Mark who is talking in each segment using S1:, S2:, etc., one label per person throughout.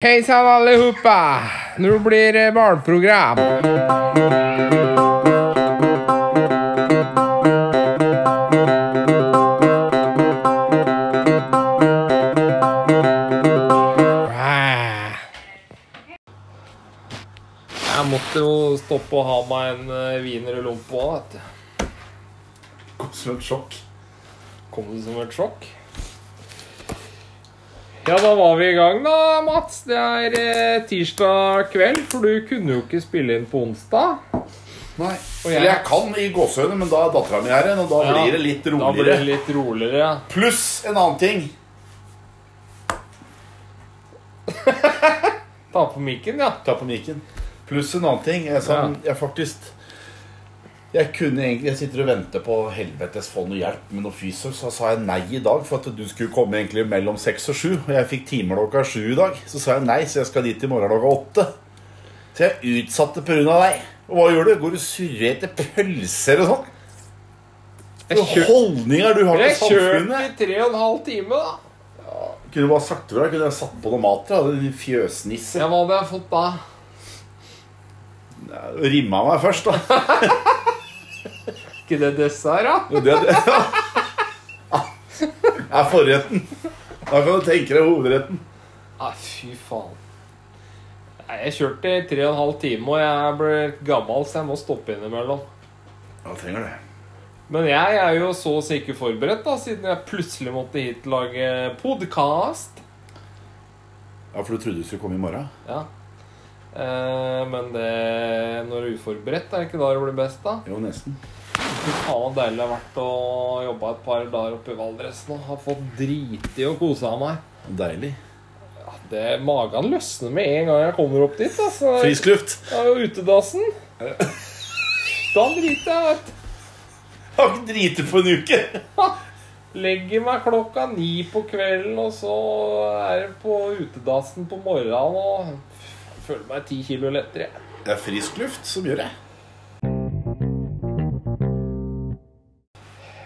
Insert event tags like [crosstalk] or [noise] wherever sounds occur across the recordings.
S1: Hei sann, alle hoppa! Nå blir det barneprogram.
S2: Jeg måtte jo stoppe og ha meg en eh, wiener og lompe òg, vet du.
S3: Kom som et sjokk.
S2: Kom det som et sjokk? Ja, da var vi i gang da, Mats. Det er eh, tirsdag kveld, for du kunne jo ikke spille inn på onsdag.
S3: Nei.
S2: Og jeg-
S3: Eller jeg kan i gåsehøyde, men da er dattera mi her igjen, og da
S2: Ja,
S3: blir det litt
S2: Da blir
S3: roligere.
S2: det litt roligere, ja.
S3: Pluss en annen ting.
S2: Ta på mikken, ja.
S3: Ta på mikken. Pluss en annen ting. Jeg, sa, jeg faktisk Jeg kunne egentlig Jeg sitter og venter på helvetes få noe hjelp med noe fysio, så sa jeg nei i dag for at du skulle komme egentlig mellom seks og sju. Og jeg fikk time klokka sju i dag. Så sa jeg nei, så jeg skal dit i morgen klokka åtte. Så jeg utsatte pga. deg. Og hva gjør du? Går du surrer etter pølser og sånn?
S2: Jeg kjør-
S3: Holdninger du har til
S2: jeg kjørte
S3: samfunnet.
S2: i tre og en halv time, da.
S3: Kunne du bare sagt fra? Kunne jeg satt på noe mat? Da? Din fjøsnisse.
S2: Ja, Hva hadde jeg fått da?
S3: Rimma meg først, da.
S2: Ikke det dessert, da?
S3: Jo, det, det. [laughs] er forretten. Da kan du tenke deg hovedretten.
S2: Nei, fy faen. Nei, jeg kjørte i tre og en halv time, og jeg ble gammel, så jeg må stoppe innimellom.
S3: Ja, trenger det.
S2: Men jeg er jo så sikkert forberedt, da, siden jeg plutselig måtte hit og lage podkast.
S3: Ja, For du trodde du skulle komme i morgen?
S2: Ja. Eh, men det, når du er uforberedt, er det ikke da det blir best, da?
S3: Jo, nesten.
S2: Fy faen så deilig det har vært å jobbe et par dager oppe i Valdres nå. Har fått driti og kosa meg.
S3: Deilig.
S2: Ja, det, magen løsner med en gang jeg kommer opp dit. Altså.
S3: Frisk luft.
S2: Ja, og utedassen. Da driter jeg, vet du.
S3: Jeg har ikke driti på en uke.
S2: Legger meg klokka ni på kvelden, og så er det på utedassen på morgenen. Og jeg føler meg ti kilo lettere. jeg.
S3: Det er frisk luft som gjør det.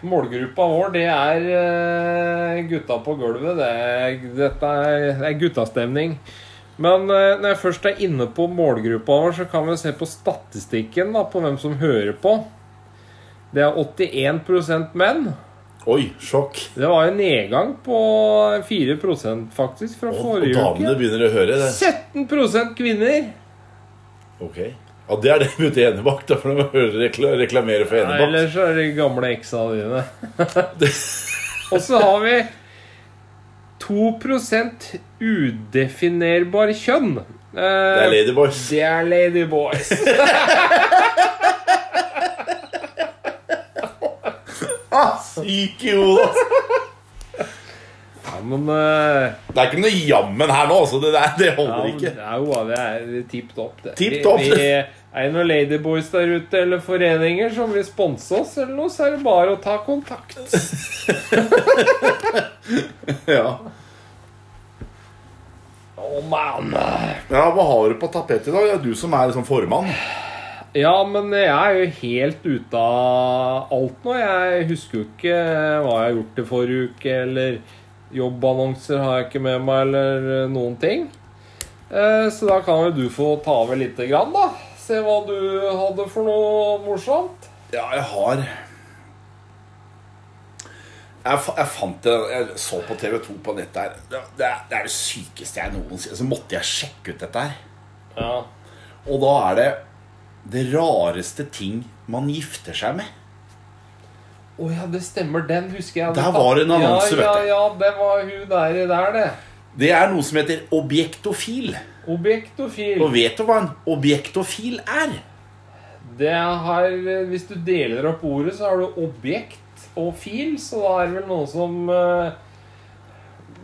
S2: Målgruppa vår, det er eh, gutta på gulvet. Det er, dette er, det er guttastemning. Men eh, når jeg først er inne på målgruppa vår, så kan vi se på statistikken da, på hvem som hører på. Det er 81 menn.
S3: Oi, sjokk.
S2: Det var en nedgang på 4 faktisk fra
S3: Og, og
S2: forrige
S3: damene
S2: uke.
S3: begynner å høre det.
S2: 17 kvinner!
S3: Ok. Ja, Det er det med Enebakk, da, for de hører rekla reklamere for
S2: Nei,
S3: Enebakk.
S2: ellers er det de gamle eksa
S3: [laughs]
S2: dine. Og så har vi 2 udefinerbar kjønn. Eh,
S3: Det er Ladyboys.
S2: det er ladyboys.
S3: [laughs] Syk i hodet, altså.
S2: Ja, men eh,
S3: Det er ikke noe jammen her nå, altså. Det, der, det
S2: ja,
S3: holder
S2: men-
S3: ikke.
S2: ja, jo, det er tipp topp, det.
S3: Tipp topp.
S2: Vi, vi, er det noen ladyboys der ute eller foreninger som vil sponse oss, eller noe, så er det bare å ta kontakt.
S3: Ja.
S2: Oh, man.
S3: ja, Hva har du på tapetet i dag? Det er du som er liksom formann.
S2: Ja, men jeg er jo helt ute av alt nå. Jeg husker jo ikke hva jeg har gjort i forrige uke, eller jobbannonser har jeg ikke med meg, eller noen ting. Eh, Så da kan jo du få ta over lite grann, da. Se hva du hadde for noe morsomt.
S3: Ja, jeg har Jeg, fa- jeg fant det Jeg så på TV2 på nettet her. Det, det, er- det er det sykeste jeg noensinne Så måtte jeg sjekke ut dette her.
S2: Ja.
S3: Og da er det det rareste ting man gifter seg med.
S2: Å ja, det stemmer. Den husker jeg.
S3: Der var det en
S2: ja,
S3: annonse, vet
S2: Ja,
S3: du.
S2: ja, det var hun der, der det.
S3: Det er noe som heter objektofil.
S2: Objektofil.
S3: Og vet du hva en objektofil er?
S2: Det har, hvis du deler opp ordet, så har du objekt og fil, så da er det vel noen som eh,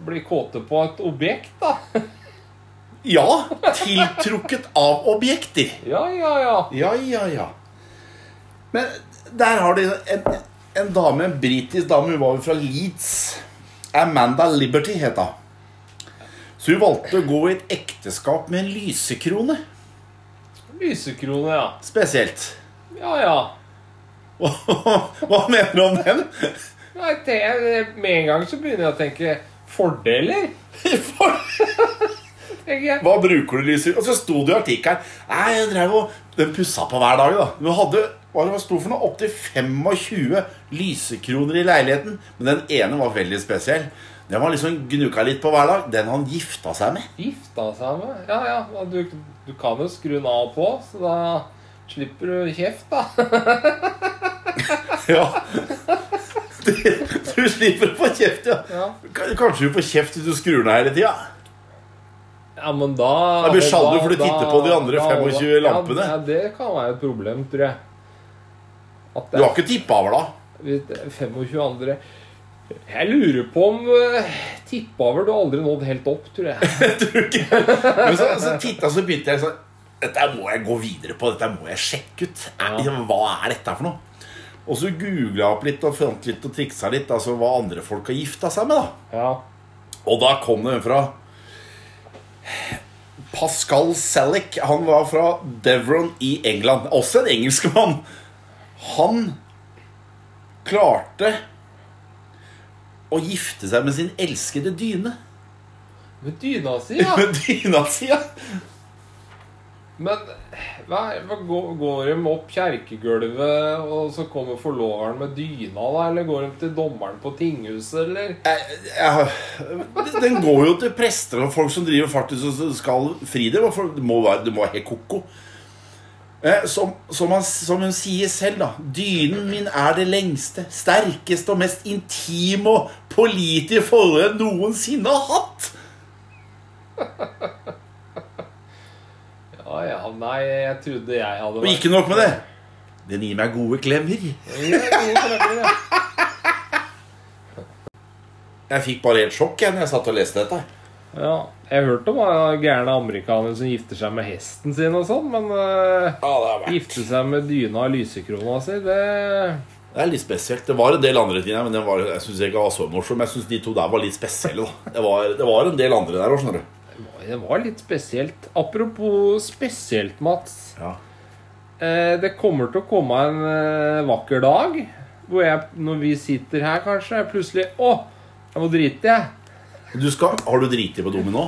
S2: blir kåte på et objekt, da.
S3: Ja, tiltrukket av objekter.
S2: Ja, ja, ja.
S3: Ja, ja, ja. Men der har de en, en dame, en britisk dame, hun var jo fra Leeds. Amanda Liberty het hun. Så hun valgte å gå i et ekteskap med en lysekrone.
S2: Lysekrone, ja.
S3: Spesielt. [laughs]
S2: Ja, ja.
S3: Hva mener du om den?
S2: Nei, det, med en gang så begynner jeg å tenke fordeler.
S3: For-
S2: Jeg-
S3: Hva bruker du lys i? Og så sto det i artikkelen Nei, jeg drev og Den pussa på hver dag, da. Du hadde hva det var sto for noe? Opptil 25 lysekroner i leiligheten. Men den ene var veldig spesiell. Den var liksom gnuka litt på hver dag. Den han gifta seg med.
S2: Gifta seg med? Ja, ja. da Du, du kan jo skru den av og på, så da slipper du kjeft, da.
S3: Ja. Du, du slipper å få kjeft, ja.
S2: Ja,
S3: K- Kanskje du får kjeft hvis du skrur den av hele tida.
S2: ja men da
S3: Da blir sjalu,
S2: da-
S3: for du
S2: da-
S3: titter på de andre
S2: da-
S3: 25 lampene.
S2: Ja, ja, det kan være et problem, tror jeg. At
S3: Du
S2: det
S3: har ikke tippa over da?
S2: er 25 andre Jeg lurer på om eh, tippover du aldri nådd helt opp, tror jeg.
S3: [laughs] Men så, så titta så begynte jeg sånn Dette må jeg gå videre på, dette må jeg sjekke ut. Er- liksom, Hva er dette for noe? Og så googla jeg opp litt og fant litt og triksa litt altså hva andre folk har gifta seg med. da
S2: Ja.
S3: Og da kom det en fra Pascal Selleck. Han var fra Devron i England. Også en engelskmann. Han klarte å gifte seg med sin elskede dyne.
S2: Med dyna si, ja.
S3: Med [laughs] dyna si, ja!
S2: Men hva, hva går, går de opp kjerkegulvet, og så kommer forloveren med dyna, da? Eller går de til dommeren på tinghuset, eller?
S3: Jeg- jeg- Den går jo til prester og folk som driver faktisk og skal fri dem. og folk- Det må være, det må være helt ko-ko. Eh, Som, som, han, som hun sier selv, da. Dynen min er det lengste, sterkeste og mest intime og pålitelige forholdet jeg noensinne har hatt.
S2: Ja, ja, nei, jeg trodde jeg hadde
S3: Og ikke nok med det. Den gir meg gode klemmer.
S2: Ja, gode klemmer, ja.
S3: Jeg fikk bare helt sjokk jeg når jeg satt og leste dette.
S2: Ja, jeg hørte om han gærne amerikaner som gifter seg med hesten sin og sånn, men eh,
S3: Ja, det, er verdt.
S2: gifte seg med dyna og lysekrona si, det
S3: det er litt spesielt. Det var en del andre ting her, men den var, jeg syns ikke var så morsom. Jeg syns de to der var litt spesielle, da. Det var, det var en del andre der òg, skjønner du.
S2: det var litt spesielt. Apropos spesielt, Mats.
S3: Ja.
S2: Eh, det kommer til å komme en eh, vakker dag hvor jeg, når vi sitter her, kanskje, jeg plutselig Å, jeg må drite, jeg.
S3: Du skal, har du driti på dommen nå?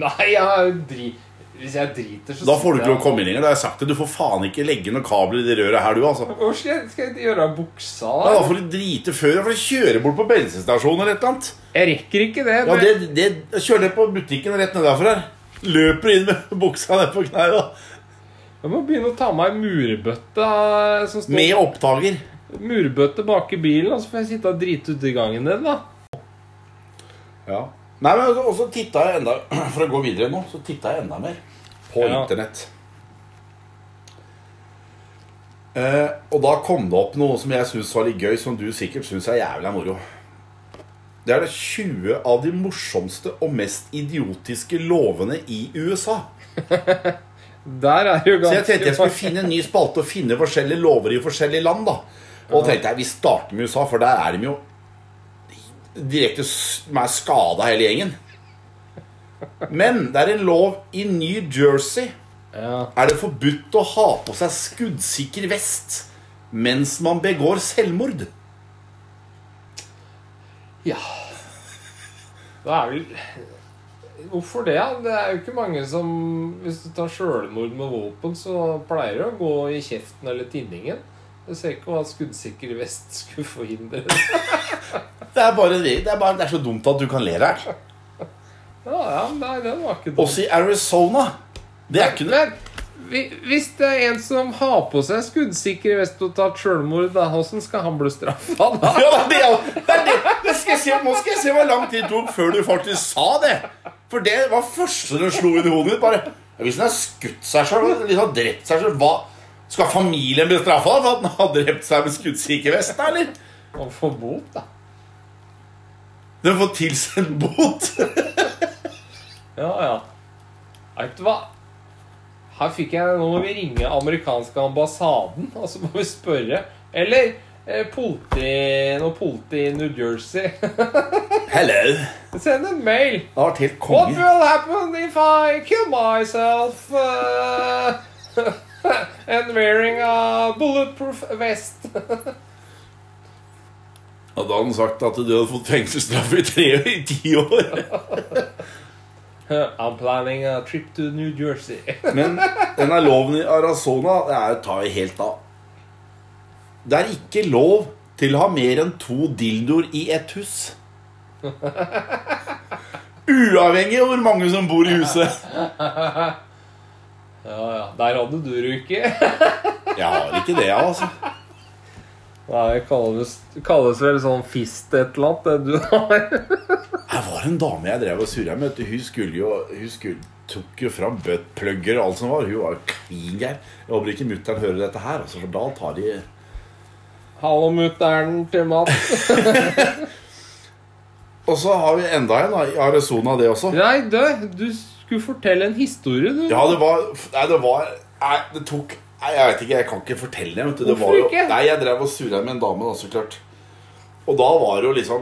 S2: Nei, jeg driter Hvis jeg driter, så
S3: Da får du ikke
S2: sitter
S3: lov å
S2: jeg-
S3: komme inn lenger. Da har jeg sagt det. Du får faen ikke legge noen kabler i det røret her, du, altså.
S2: Hvor skal jeg, skal jeg gjøre av buksa?
S3: Ja,
S2: Da?
S3: da får du drite før. Da får du kjøre bort på bensinstasjonen eller et eller annet.
S2: Jeg rekker ikke det.
S3: Ja,
S2: men-
S3: det, det, Kjør ned på butikken rett nedenfor her. Løper inn med buksa ned på knærne. da.
S2: Jeg må begynne å ta meg en murbøtte eh, som står
S3: Med opptaker.
S2: Murbøtte bak i bilen, og så får jeg sitte og drite ute i gangen din, da.
S3: Ja. Nei, men også- også titta jeg enda [clears throat] For å gå videre nå, så titta jeg enda mer på
S2: Ja.
S3: internett. Eh, og da kom det opp noe som jeg syns var litt gøy, som du sikkert syns er jævla moro. Det er det 20 av de morsomste og mest idiotiske lovene i USA.
S2: Der er jo
S3: Så jeg
S2: ganske
S3: tenkte jeg skulle finne en ny spalte og finne forskjellige lover i forskjellige land. da Og tenkte jeg, vi starter med USA, for der er de jo direkte s- de er skada hele gjengen. Men det er en lov i New Jersey
S2: ja.
S3: er det forbudt å ha på seg skuddsikker vest mens man begår selvmord.
S2: ja. Det er vel Hvorfor det? Det er jo ikke mange som Hvis du tar sjølmord med våpen, så pleier det å gå i kjeften eller tinningen. Jeg ser ikke hva skuddsikker vest skulle forhindre.
S3: Det er bare det. Det er, bare, det er så dumt at du kan le her.
S2: Ja, ja, nei, den var ikke dum.
S3: Også i Arizona. Det er ikke noe
S2: Men hvi- hvis det er en som har på seg skuddsikker vest og tar sjølmord, da, hvordan skal han bli straffa da?
S3: Ja, da, det, er- det er det. det skal jeg se, nå skal jeg se hvor lang tid det tok før du faktisk sa det. For det var første du slo inn i hodet mitt. Bare, ja, hvis han har skutt seg selv, liksom drept seg selv, hva skal familien bli straffa for at han har drept seg med skuddsikker vest? da, eller?
S2: Og få bot, da.
S3: Den får tilsendt bot.
S2: Ja, ja. Vet du hva? Her fikk jeg Nå må vi ringe amerikanske ambassaden, og så må vi spørre. Eller eh, politi noe politi i New Jersey. [laughs]
S3: Hello.
S2: Send en mail.
S3: Det har vært helt
S2: What
S3: konge.
S2: will happen if I kill myself uh, [laughs] and wearing a bulletproof vest?
S3: Ja, da hadde han sagt at du hadde fått fengselsstraff i tre i ti år.
S2: I'm planning a trip to New Jersey. [laughs]
S3: Men denne loven i Arizona det er, tar jo helt av. Det er ikke lov til å ha mer enn to dildoer i et hus. Uavhengig av hvor mange som bor i huset.
S2: Ja, ja. Der hadde du det ikke.
S3: Jeg har ikke det, jeg, altså.
S2: [laughs] Nei, det kalles, kalles vel sånn fist et eller annet, det du har. [laughs]
S3: Jeg var en dame jeg drev og surra med. vet du. Hun skulle jo Hun skulle, tok jo fram buttplugger og alt som var. Hun var jo klin gæren. Jeg håper ikke mutter'n hører dette her, altså, for da tar de
S2: Hallo, mutter'n til
S3: [laughs]
S2: Mats.
S3: Og så har vi enda en da, i Arizona, det også.
S2: Nei, du, du skulle fortelle en historie, du.
S3: Ja, det var Nei, det var Nei, det tok Nei, jeg vet ikke, jeg kan ikke fortelle det. vet du. Det
S2: Hvorfor
S3: var jo,
S2: ikke?
S3: Nei, jeg drev og surra med en dame, da, så klart. Og da var det jo liksom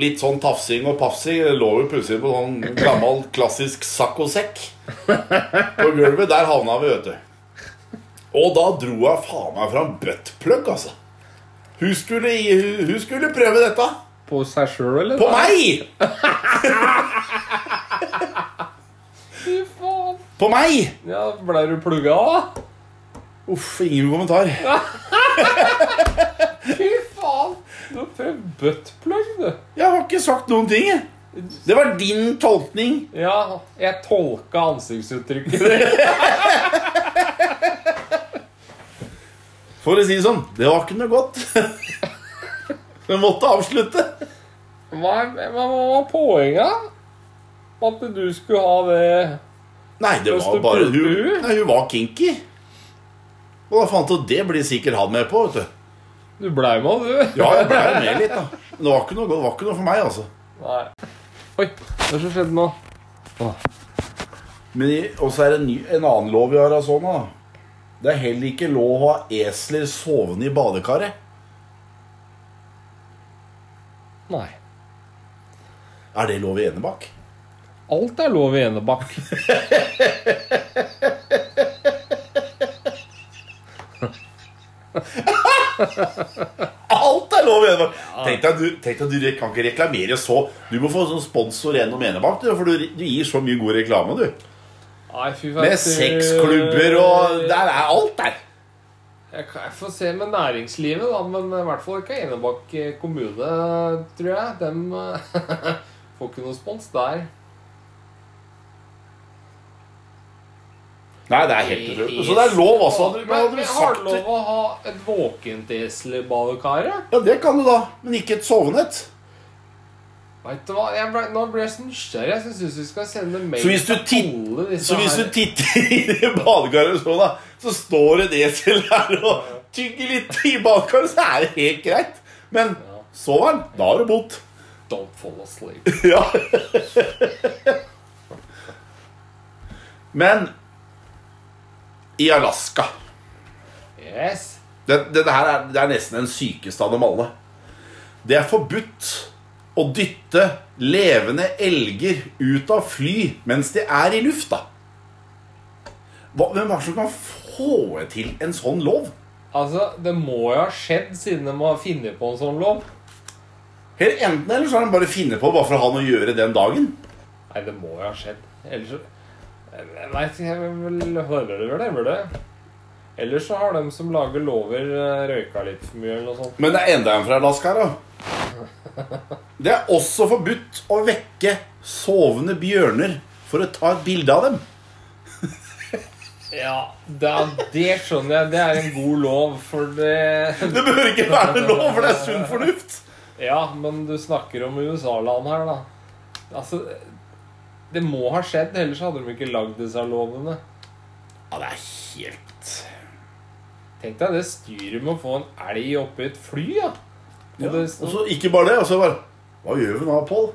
S3: Litt sånn tafsing og pafsing. Det lå jo plutselig på sånn gammel, klassisk saccosekk på gulvet. Der havna vi, vet du. Og da dro jeg faen meg fram buttplug, altså. Hun skulle, i- hun, hun skulle prøve dette.
S2: På seg sjøl, eller?
S3: På meg!
S2: Fy faen.
S3: På meg!
S2: Ja, Blei du plugga, da? [laughs]
S3: Uff, ingen kommentar.
S2: Fy faen. Du har prøvd buttplug, du.
S3: Jeg har ikke sagt noen ting, jeg. Det var din tolkning.
S2: Ja, jeg tolka ansiktsuttrykket
S3: [laughs]
S2: ditt.
S3: For å si det sånn, det var ikke noe godt. [laughs] Men måtte avslutte.
S2: Hva, hva hva var poenget? At du skulle ha det
S3: Nei, det
S2: Hvordan
S3: var
S2: du
S3: bare
S2: pulte
S3: hun,
S2: hun?
S3: nei, hun var kinky. Og da fant jeg ut det blir sikkert han med på. vet du
S2: Du blei med, du.
S3: Ja, jeg ble jo med litt, da. Men det var ikke noe, godt, det var ikke noe for meg, altså.
S2: Nei. Oi, hva er det som skjedde nå?
S3: Men i- Og så er det en, ny, en annen lov i Arizona. sånn, da. Det er heller ikke lov å ha esler sovende i badekaret.
S2: Nei.
S3: Er det lov i Enebakk?
S2: Alt er lov i Enebakk.
S3: Alt er lov i Enebakk! Tenk deg, du, tenk deg, du re- kan ikke reklamere så Du må få sånn sponsor gjennom Enebakk, du, for du, du gir så mye god reklame, du.
S2: Nei, fy faen.
S3: Med sexklubber og Der er alt der.
S2: Jeg, kan, jeg får se med næringslivet, da, men i hvert fall ikke Enebakk eh, kommune, tror jeg. Dem eh, [laughs] får ikke noe spons der.
S3: Nei, det er helt utrolig. Så det er lov, altså. Hadde, men
S2: Men
S3: hadde du
S2: har
S3: sagt
S2: du lov å ha et våkent esel i badekaret?
S3: Ja, det kan du da, men ikke et sovende et.
S2: Vet du hva, jeg ble, Nå ble jeg så nysgjerrig. Jeg syns vi skal sende mail
S3: Så hvis du tit-
S2: alle disse
S3: Så hvis du
S2: her.
S3: titter i det [laughs] badekaret og sånn, da, så står et esel der og tygger litt i badekaret, så er det helt greit. Men sover han, da har du bodd.
S2: Don't fall asleep.
S3: Ja. Men i Alaska
S2: Yes.
S3: Det, det, det her er, det er nesten den sykeste av dem alle. Det er forbudt å dytte levende elger ut av fly mens de er i lufta. Hva, hvem er det som kan få til en sånn lov?
S2: Altså, det må jo ha skjedd siden de har funnet på en sånn lov.
S3: Eller enten eller så har de bare funnet på bare for å ha noe å gjøre den dagen.
S2: Nei, det må jo ha skjedd. Ellers så Nei, jeg vil høre det vel, det. Ellers så har de som lager lover, eh, røyka litt for mye eller noe sånt.
S3: Men det er enda en fra Alaska her, da. Det er også forbudt å vekke sovende bjørner for å ta et bilde av dem.
S2: Ja, det, det skjønner jeg. Det er en god lov, for det
S3: Det bør ikke være lov, for det er sunn fornuft.
S2: Ja, men du snakker om USA-land her, da. Altså Det må ha skjedd, ellers hadde de ikke lagd disse lovene.
S3: Ja, det er helt
S2: Tenk deg det styret med å få en elg oppi et fly, ja. Og
S3: Ja.
S2: det,
S3: Og så ikke bare det, og så bare Hva gjør vi nå, Pål?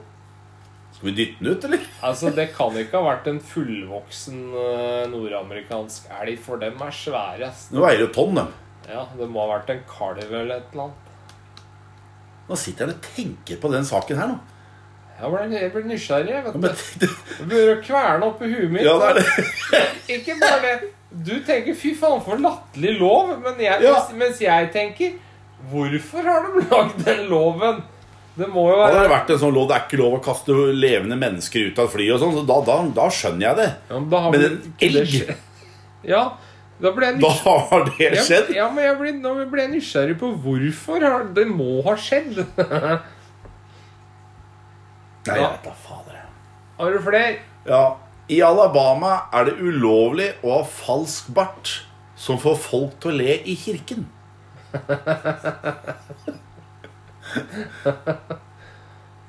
S3: Skal vi dytte den ut, eller?
S2: Altså, Det kan ikke ha vært en fullvoksen eh, nordamerikansk elg, for dem er svære. ass.
S3: Nå veier det tonn, dem.
S2: Ja, Det må ha vært en kalv eller et eller annet.
S3: Nå sitter jeg og tenker på den saken her, nå.
S2: Jeg ble, jeg ble nysgjerrig. vet
S3: Ja,
S2: du.
S3: men det-
S2: Du begynner å kverne oppi huet mitt.
S3: [laughs] Ja, det er det.
S2: Ikke bare det. Du tenker 'fy faen, for latterlig lov', men jeg,
S3: Ja.
S2: mens, mens jeg tenker 'hvorfor har de lagd den loven'? Det må jo
S3: Da hadde
S2: være
S3: det vært en sånn lov Det er ikke lov å kaste levende mennesker ut av et fly og sånn, så da, da, da skjønner jeg det.
S2: Ja, men da har
S3: Men
S2: vi-
S3: en
S2: ikke det
S3: elg?
S2: skje- Ja, da ble jeg
S3: Da
S2: nysgjerrig.
S3: har det skjedd.
S2: Ja, men jeg ble, nå ble jeg nysgjerrig på hvorfor. har- Det må ha skjedd. [laughs]
S3: Nei, jeg vet da fader. jeg.
S2: Har du flere?
S3: Ja. I Alabama er det ulovlig å ha falsk bart som får folk til å le i kirken.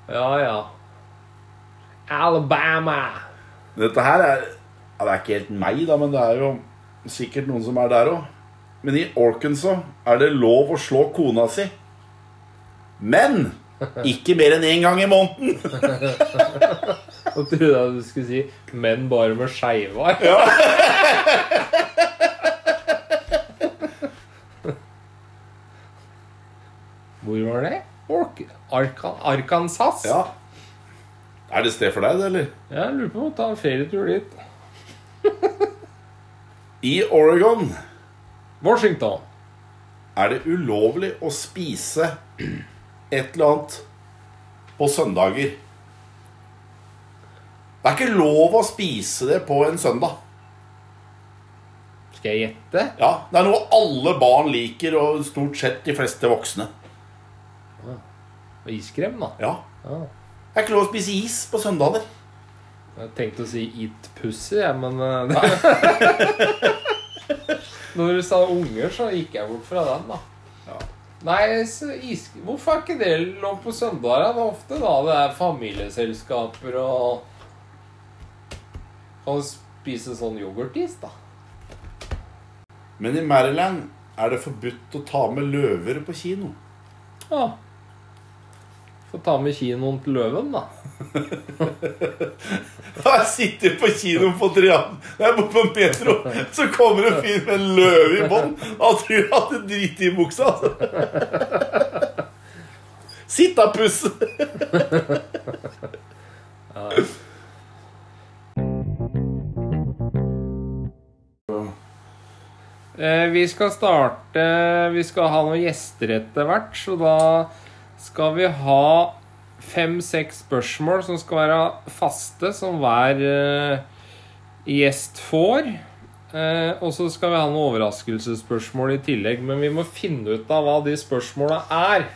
S2: Ja, ja. Alabama.
S3: Dette her er ja, Det er ikke helt meg, da, men det er jo sikkert noen som er der òg. Men i Arkansas er det lov å slå kona si. Men ikke mer enn én gang i måneden!
S2: Da trodde jeg du skulle si 'menn bare med skeiva'. Hvor var det? Ork Arka Arkansas?
S3: Ja. Er det sted for deg, det, eller?
S2: Jeg lurer på om vi tar en ferietur dit.
S3: I Oregon
S2: Washington.
S3: er det ulovlig å spise et eller annet på søndager. Det er ikke lov å spise det på en søndag.
S2: Skal jeg gjette?
S3: Ja, Det er noe alle barn liker, og stort sett de fleste voksne.
S2: Iskrem, da.
S3: Ja,
S2: Ja.
S3: Det er ikke lov å spise is på søndager.
S2: Jeg tenkte å si 'eat pussy', jeg, men eh, Når du sa unger, så gikk jeg bort fra den, da.
S3: Ja.
S2: Nei, så is... hvorfor er ikke det lov på søndager? Det er ofte da det er familieselskaper og Kan spise sånn yoghurtis, da.
S3: Men i Maryland er det forbudt å ta med løver på kino.
S2: Ja. Få ta med kinoen til Løven, da.
S3: Jeg sitter på kinoen på Trianon, jeg bor på Petro, så kommer en fyr med en løve i bånd. Han tror at det driter i buksa. altså. Sitt da, puss!
S2: Eh, vi skal starte Vi skal ha noen gjester etter hvert, så da skal vi ha fem-seks spørsmål som skal være faste, som hver eh, gjest får. Eh, og så skal vi ha noen overraskelsesspørsmål i tillegg, men vi må finne ut av hva de spørsmåla er.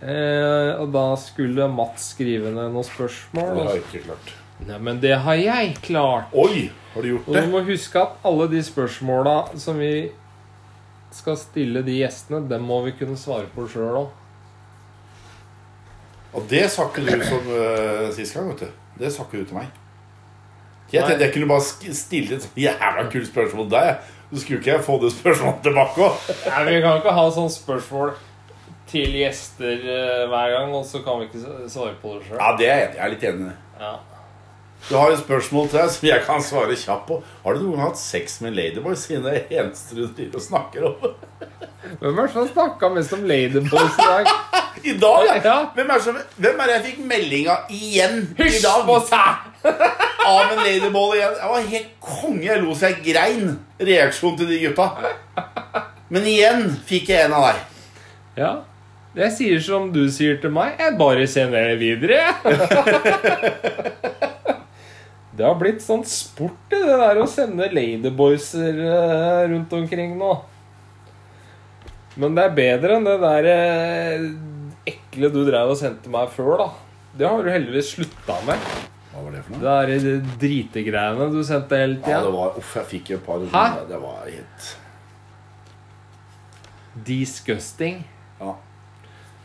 S2: Eh, og da skulle Mats skrive ned noen spørsmål. og-
S3: ikke klart.
S2: Nei, men det har jeg klart.
S3: Oi, har du gjort
S2: Og
S3: det?
S2: du må huske at alle de spørsmåla som vi skal stille de gjestene, dem må vi kunne svare på sjøl òg.
S3: Og det sa ikke du som uh, sist gang, vet du. Det sa ikke du til meg. Jeg
S2: Nei.
S3: tenkte jeg kunne bare sk- stille et sånt jævla kult spørsmål til deg. jeg. Så skulle ikke jeg få det spørsmålet tilbake òg.
S2: Vi kan ikke ha sånne spørsmål til gjester eh, hver gang, og så kan vi ikke s- svare på det sjøl.
S3: Ja, det er jeg enig i. Jeg er litt enig i det.
S2: Ja.
S3: Du har et spørsmål til deg som jeg kan svare kjapt på. Har du noen gang hatt sex med en ladyboy siden det er det eneste du driver og snakker om? [laughs]
S2: Hvem er det som snakka mest om Ladyboys i dag?
S3: I dag, ja!
S2: Ja.
S3: Hvem er det som- hvem er det jeg fikk melding av igjen i
S2: Hysj
S3: dag?
S2: på seg!
S3: Av en ladyboy igjen. Jeg var helt konge. Jeg lo så jeg grein. Reaksjon til de gutta. Men igjen fikk jeg en av deg.
S2: Ja. Jeg sier som du sier til meg. Jeg bare sender det videre. [laughs] det har blitt sånn sport, det der å sende ladyboyser eh, rundt omkring nå. Men det er bedre enn det der eh, ekle du drev og sendte meg før, da. Det har du heldigvis slutta med.
S3: Hva var det for
S2: Det er de dritegreiene du sendte hele
S3: Ja, det
S2: tida.
S3: var, uff, jeg fikk et par
S2: Hæ?
S3: Det var helt
S2: Disgusting.
S3: Ja.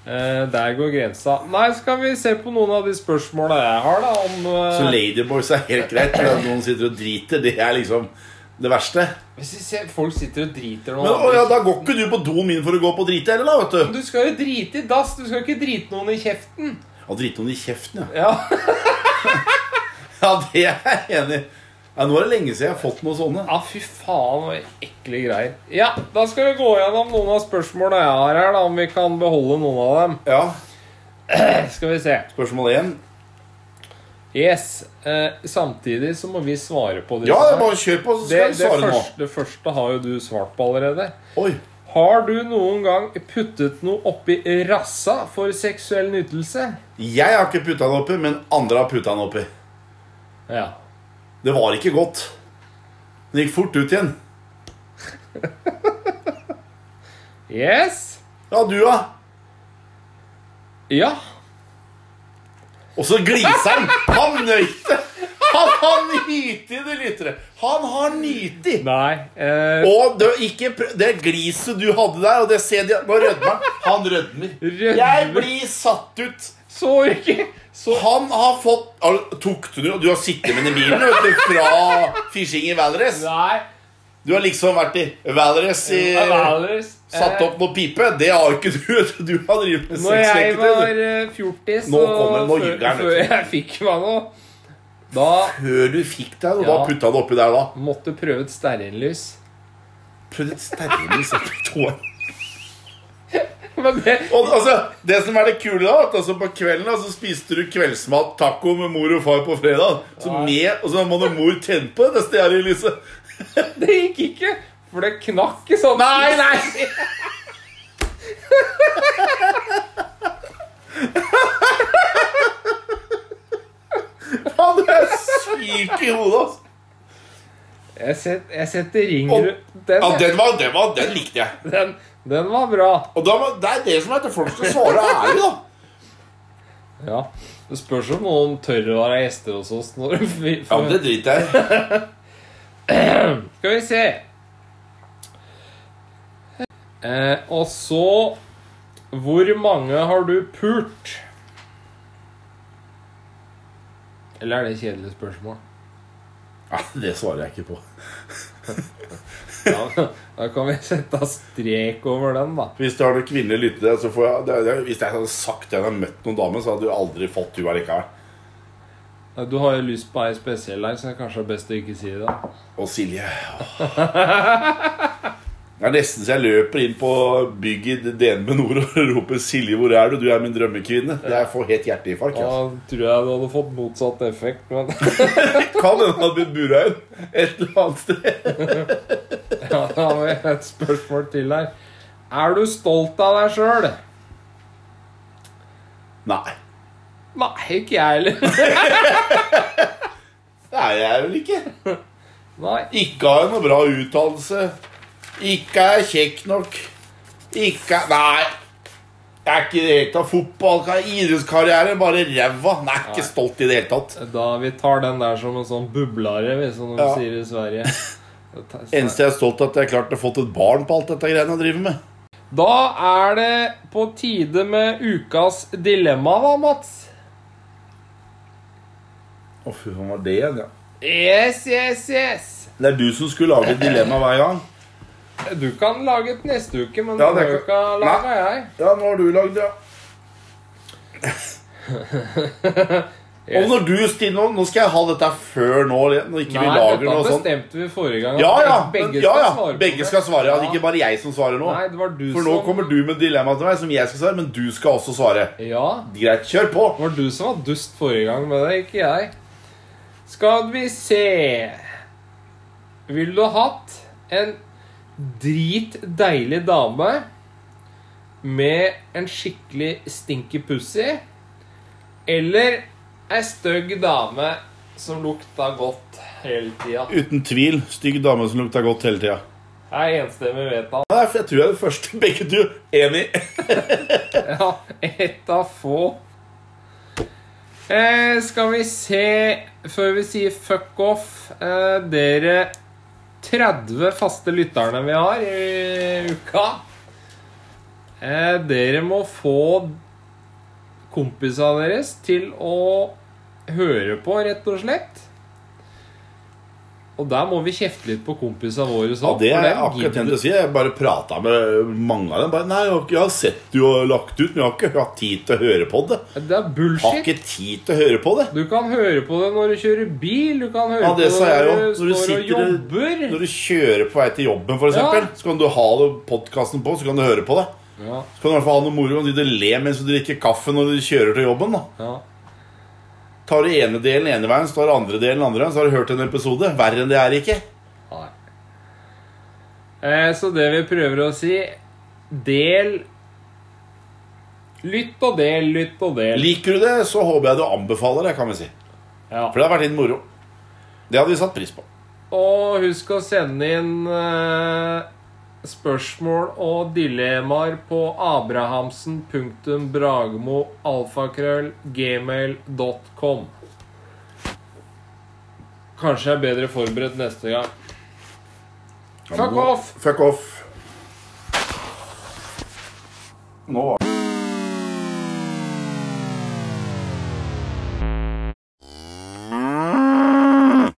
S2: Eh, der går grensa. Nei, skal vi se på noen av de spørsmåla jeg har, da, om eh,
S3: Så ladyboys er helt greit. men At noen sitter og driter, det er liksom det verste.
S2: Hvis vi ser folk sitter og driter nå
S3: Men, å, ja, da går ikke du på doen min for å gå på drite heller, da, vet du.
S2: Du skal jo drite i dass, du skal ikke drite noen i kjeften.
S3: Ja, drite noen i kjeften, ja. [laughs]
S2: Ja,
S3: Ja, det er jeg enig i. Ja, nå er det lenge siden jeg har fått noe sånne.
S2: ja fy faen, for ekle greier. Ja, da skal vi gå gjennom noen av spørsmåla jeg har her, da, om vi kan beholde noen av dem.
S3: Ja,
S2: Skal vi se.
S3: Spørsmål én.
S2: Yes. Eh, samtidig så må vi svare på disse
S3: Ja,
S2: her.
S3: bare kjør på, så
S2: det,
S3: skal jeg
S2: det
S3: svare nå.
S2: første, det første har jo du svart på allerede.
S3: Oi.
S2: Har du noen gang puttet noe oppi rassa for seksuell nytelse?
S3: Jeg har ikke putta den oppi, men andre har putta den oppi.
S2: Ja.
S3: Det var ikke godt. Den gikk fort ut igjen.
S2: Yes?
S3: Ja, du, ja.
S2: Ja.
S3: Og så
S2: [laughs]
S3: gliser han! Han nøyte! Han har nytig det, lyttere. Han har nytig!
S2: Nei. Eh,
S3: Og det, er ikke, prø- det gliset du hadde der, og det ser de Nå rødmer han. Han rødmer.
S2: Rødmer.
S3: Jeg blir satt ut.
S2: så ikke så,
S3: Han har fått al- Tok du Du har sittet med den bilen vet du, fra fishing i Valdres.
S2: Nei.
S3: Du har liksom vært i Valdres i
S2: Eh, Valers,
S3: Satt opp noe pipe. Det har ikke du. Du har drevet med
S2: Når jeg var
S3: sexleketøy. du.
S2: eh, fjortis,
S3: Nå kommer- nå
S2: før,
S3: ljuger han, vet
S2: før
S3: du.
S2: [laughs] jeg fikk meg noe Da
S3: Før du fikk deg noe, hva
S2: Ja.
S3: putta han oppi der da?
S2: måtte prøve et stearinlys. [laughs]
S3: Prøvde et stearinlys oppi tåa.
S2: Men det,
S3: Og altså, Det som er det kule, da at altså, På kvelden da, så spiste du kveldsmat taco med mor og far på fredag. Så med, og så må da mor tenne på det neste gjerde i lyset.
S2: det gikk ikke, for det knakk i sånn.
S3: Nei, nei! Han er syk i hodet, altså.
S2: Jeg, set, jeg setter ring
S3: Og-
S2: rundt den,
S3: Ja, den, var, den, var, den likte jeg.
S2: den. Den var bra.
S3: Og da, må- Det er det som er til folk skal svare ærlig, da.
S2: Ja. Det spørs om noen tør å være gjester hos oss. Når vi
S3: [laughs] Ja, men Det driter jeg i.
S2: Skal vi se. Eh, og så Hvor mange har du pult? Eller er det et kjedelig spørsmål?
S3: Ja, det svarer jeg ikke på.
S2: Ja, [laughs] da kan vi sette strek over den, da.
S3: Hvis du har noen kvinnelige lyttere, så får jeg det, det, Hvis jeg hadde sagt at jeg hadde møtt noen damer, så hadde du aldri fått henne allikevel.
S2: Nei, Du har jo lyst på ei spesiell her, så det er kanskje best å ikke si det. da.
S3: Og [laughs] Silje åh. Det er nesten så jeg løper inn på bygget i DNB Nord og roper 'Silje, hvor er du? Du er min drømmekvinne'. Jeg får helt hjerteinfarkt.
S2: Da
S3: Altså.
S2: tror jeg du hadde fått motsatt effekt. Men
S3: Kan hende han hadde blitt bura inn et eller annet sted.
S2: ja, da har vi et spørsmål til her. Er du stolt av deg sjøl?
S3: Nei,
S2: Nei, ikke jeg heller.
S3: det er jeg vel ikke.
S2: Nei.
S3: Ikke har jeg noe bra utdannelse. Ikke er jeg kjekk nok. Ikke er- Nei. Jeg er ikke i det hele tatt fotball, idrettskarriere, bare ræva. Nei, jeg er ikke stolt i det hele tatt.
S2: Da vi tar den der som en sånn bublare, vi, som de
S3: Ja.
S2: sier i Sverige. Da tar-
S3: Eneste jeg er stolt av, at jeg klarte å fått et barn på alt dette greiene jeg driver med.
S2: Da er det på tide med ukas dilemma, da, Mats.
S3: Å, fy faen, var det igjen, ja.
S2: Yes, yes, yes.
S3: Det er du som skulle lage et dilemma hver gang.
S2: Du kan lage et neste uke, men
S3: Ja,
S2: den
S3: det
S2: har jo ikke
S3: kan-
S2: laga jeg.
S3: Ja, nå har du lagd det, ja. [laughs] Og når du, Stine, nå- nå skal jeg ha dette før nå, når ikke
S2: Nei,
S3: vi lager
S2: dette
S3: noe sånt.
S2: bestemte vi forrige gang. at
S3: Ja, ja,
S2: Begge
S3: men- ja,
S2: skal
S3: ja.
S2: svare. på
S3: Begge
S2: det.
S3: skal svare. Ja. Det
S2: Ja.
S3: er ikke bare jeg som svarer nå.
S2: Nei, det var du
S3: For nå
S2: som
S3: kommer du med dilemma til meg som jeg skal svare, men du skal også svare.
S2: Ja,
S3: Greit, kjør på.
S2: det var du som var dust forrige gang med det, ikke jeg. Skal vi se Ville du hatt en dritdeilig dame med en skikkelig stinky pussy? Eller ei stygg dame som lukta godt hele tida?
S3: Uten tvil. Stygg dame som lukter godt hele tida.
S2: Jeg er enstemmig vedtatt.
S3: Nei, for jeg tror jeg er den første [laughs] begge to enig.
S2: Ja, ett av få. Eh, skal vi se Før vi sier fuck off eh, Dere 30 faste lytterne vi har i uka eh, Dere må få kompisene deres til å høre på, rett og slett. Og der må vi kjefte litt på kompisene våre.
S3: Ja,
S2: sånn,
S3: det
S2: for
S3: er
S2: dem
S3: akkurat
S2: gidder-
S3: det du sier. Jeg bare prata med mange av dem. Bare, nei, jeg har ikke- jeg har sett du har lagt ut, men jeg har ikke hatt tid til å høre på det.
S2: Det er
S3: Jeg har
S2: bullshit.
S3: ikke tid til å høre på det.
S2: Du kan høre på det når du kjører bil, du kan høre
S3: Ja, det
S2: på
S3: sa
S2: det
S3: jeg jo.
S2: når du
S3: Når du
S2: står og
S3: sitter-
S2: jobber.
S3: Når du kjører på vei til jobben, for eksempel, så kan du ha podkasten på, så kan du høre på det.
S2: Ja,
S3: Så kan du i hvert fall ha noe moro og sitte og le mens du drikker kaffe når du kjører til jobben. da
S2: ja.
S3: Tar du ene delen ene veien, så tar du andre delen andre veien, så har du hørt en episode. Verre enn det er ikke.
S2: Nei. Eh, Så det vi prøver å si Del Lytt og del, lytt og del.
S3: Liker du det, så håper jeg du anbefaler det, kan vi si.
S2: Ja.
S3: For det har vært litt moro. Det hadde vi satt pris på.
S2: Og husk å sende inn eh, spørsmål og dilemmaer på abrahamsen.bragmo.alfakrøll.gmail.com. Kanskje jeg er bedre forberedt neste gang. Fuck off!
S3: Fuck off. Nå var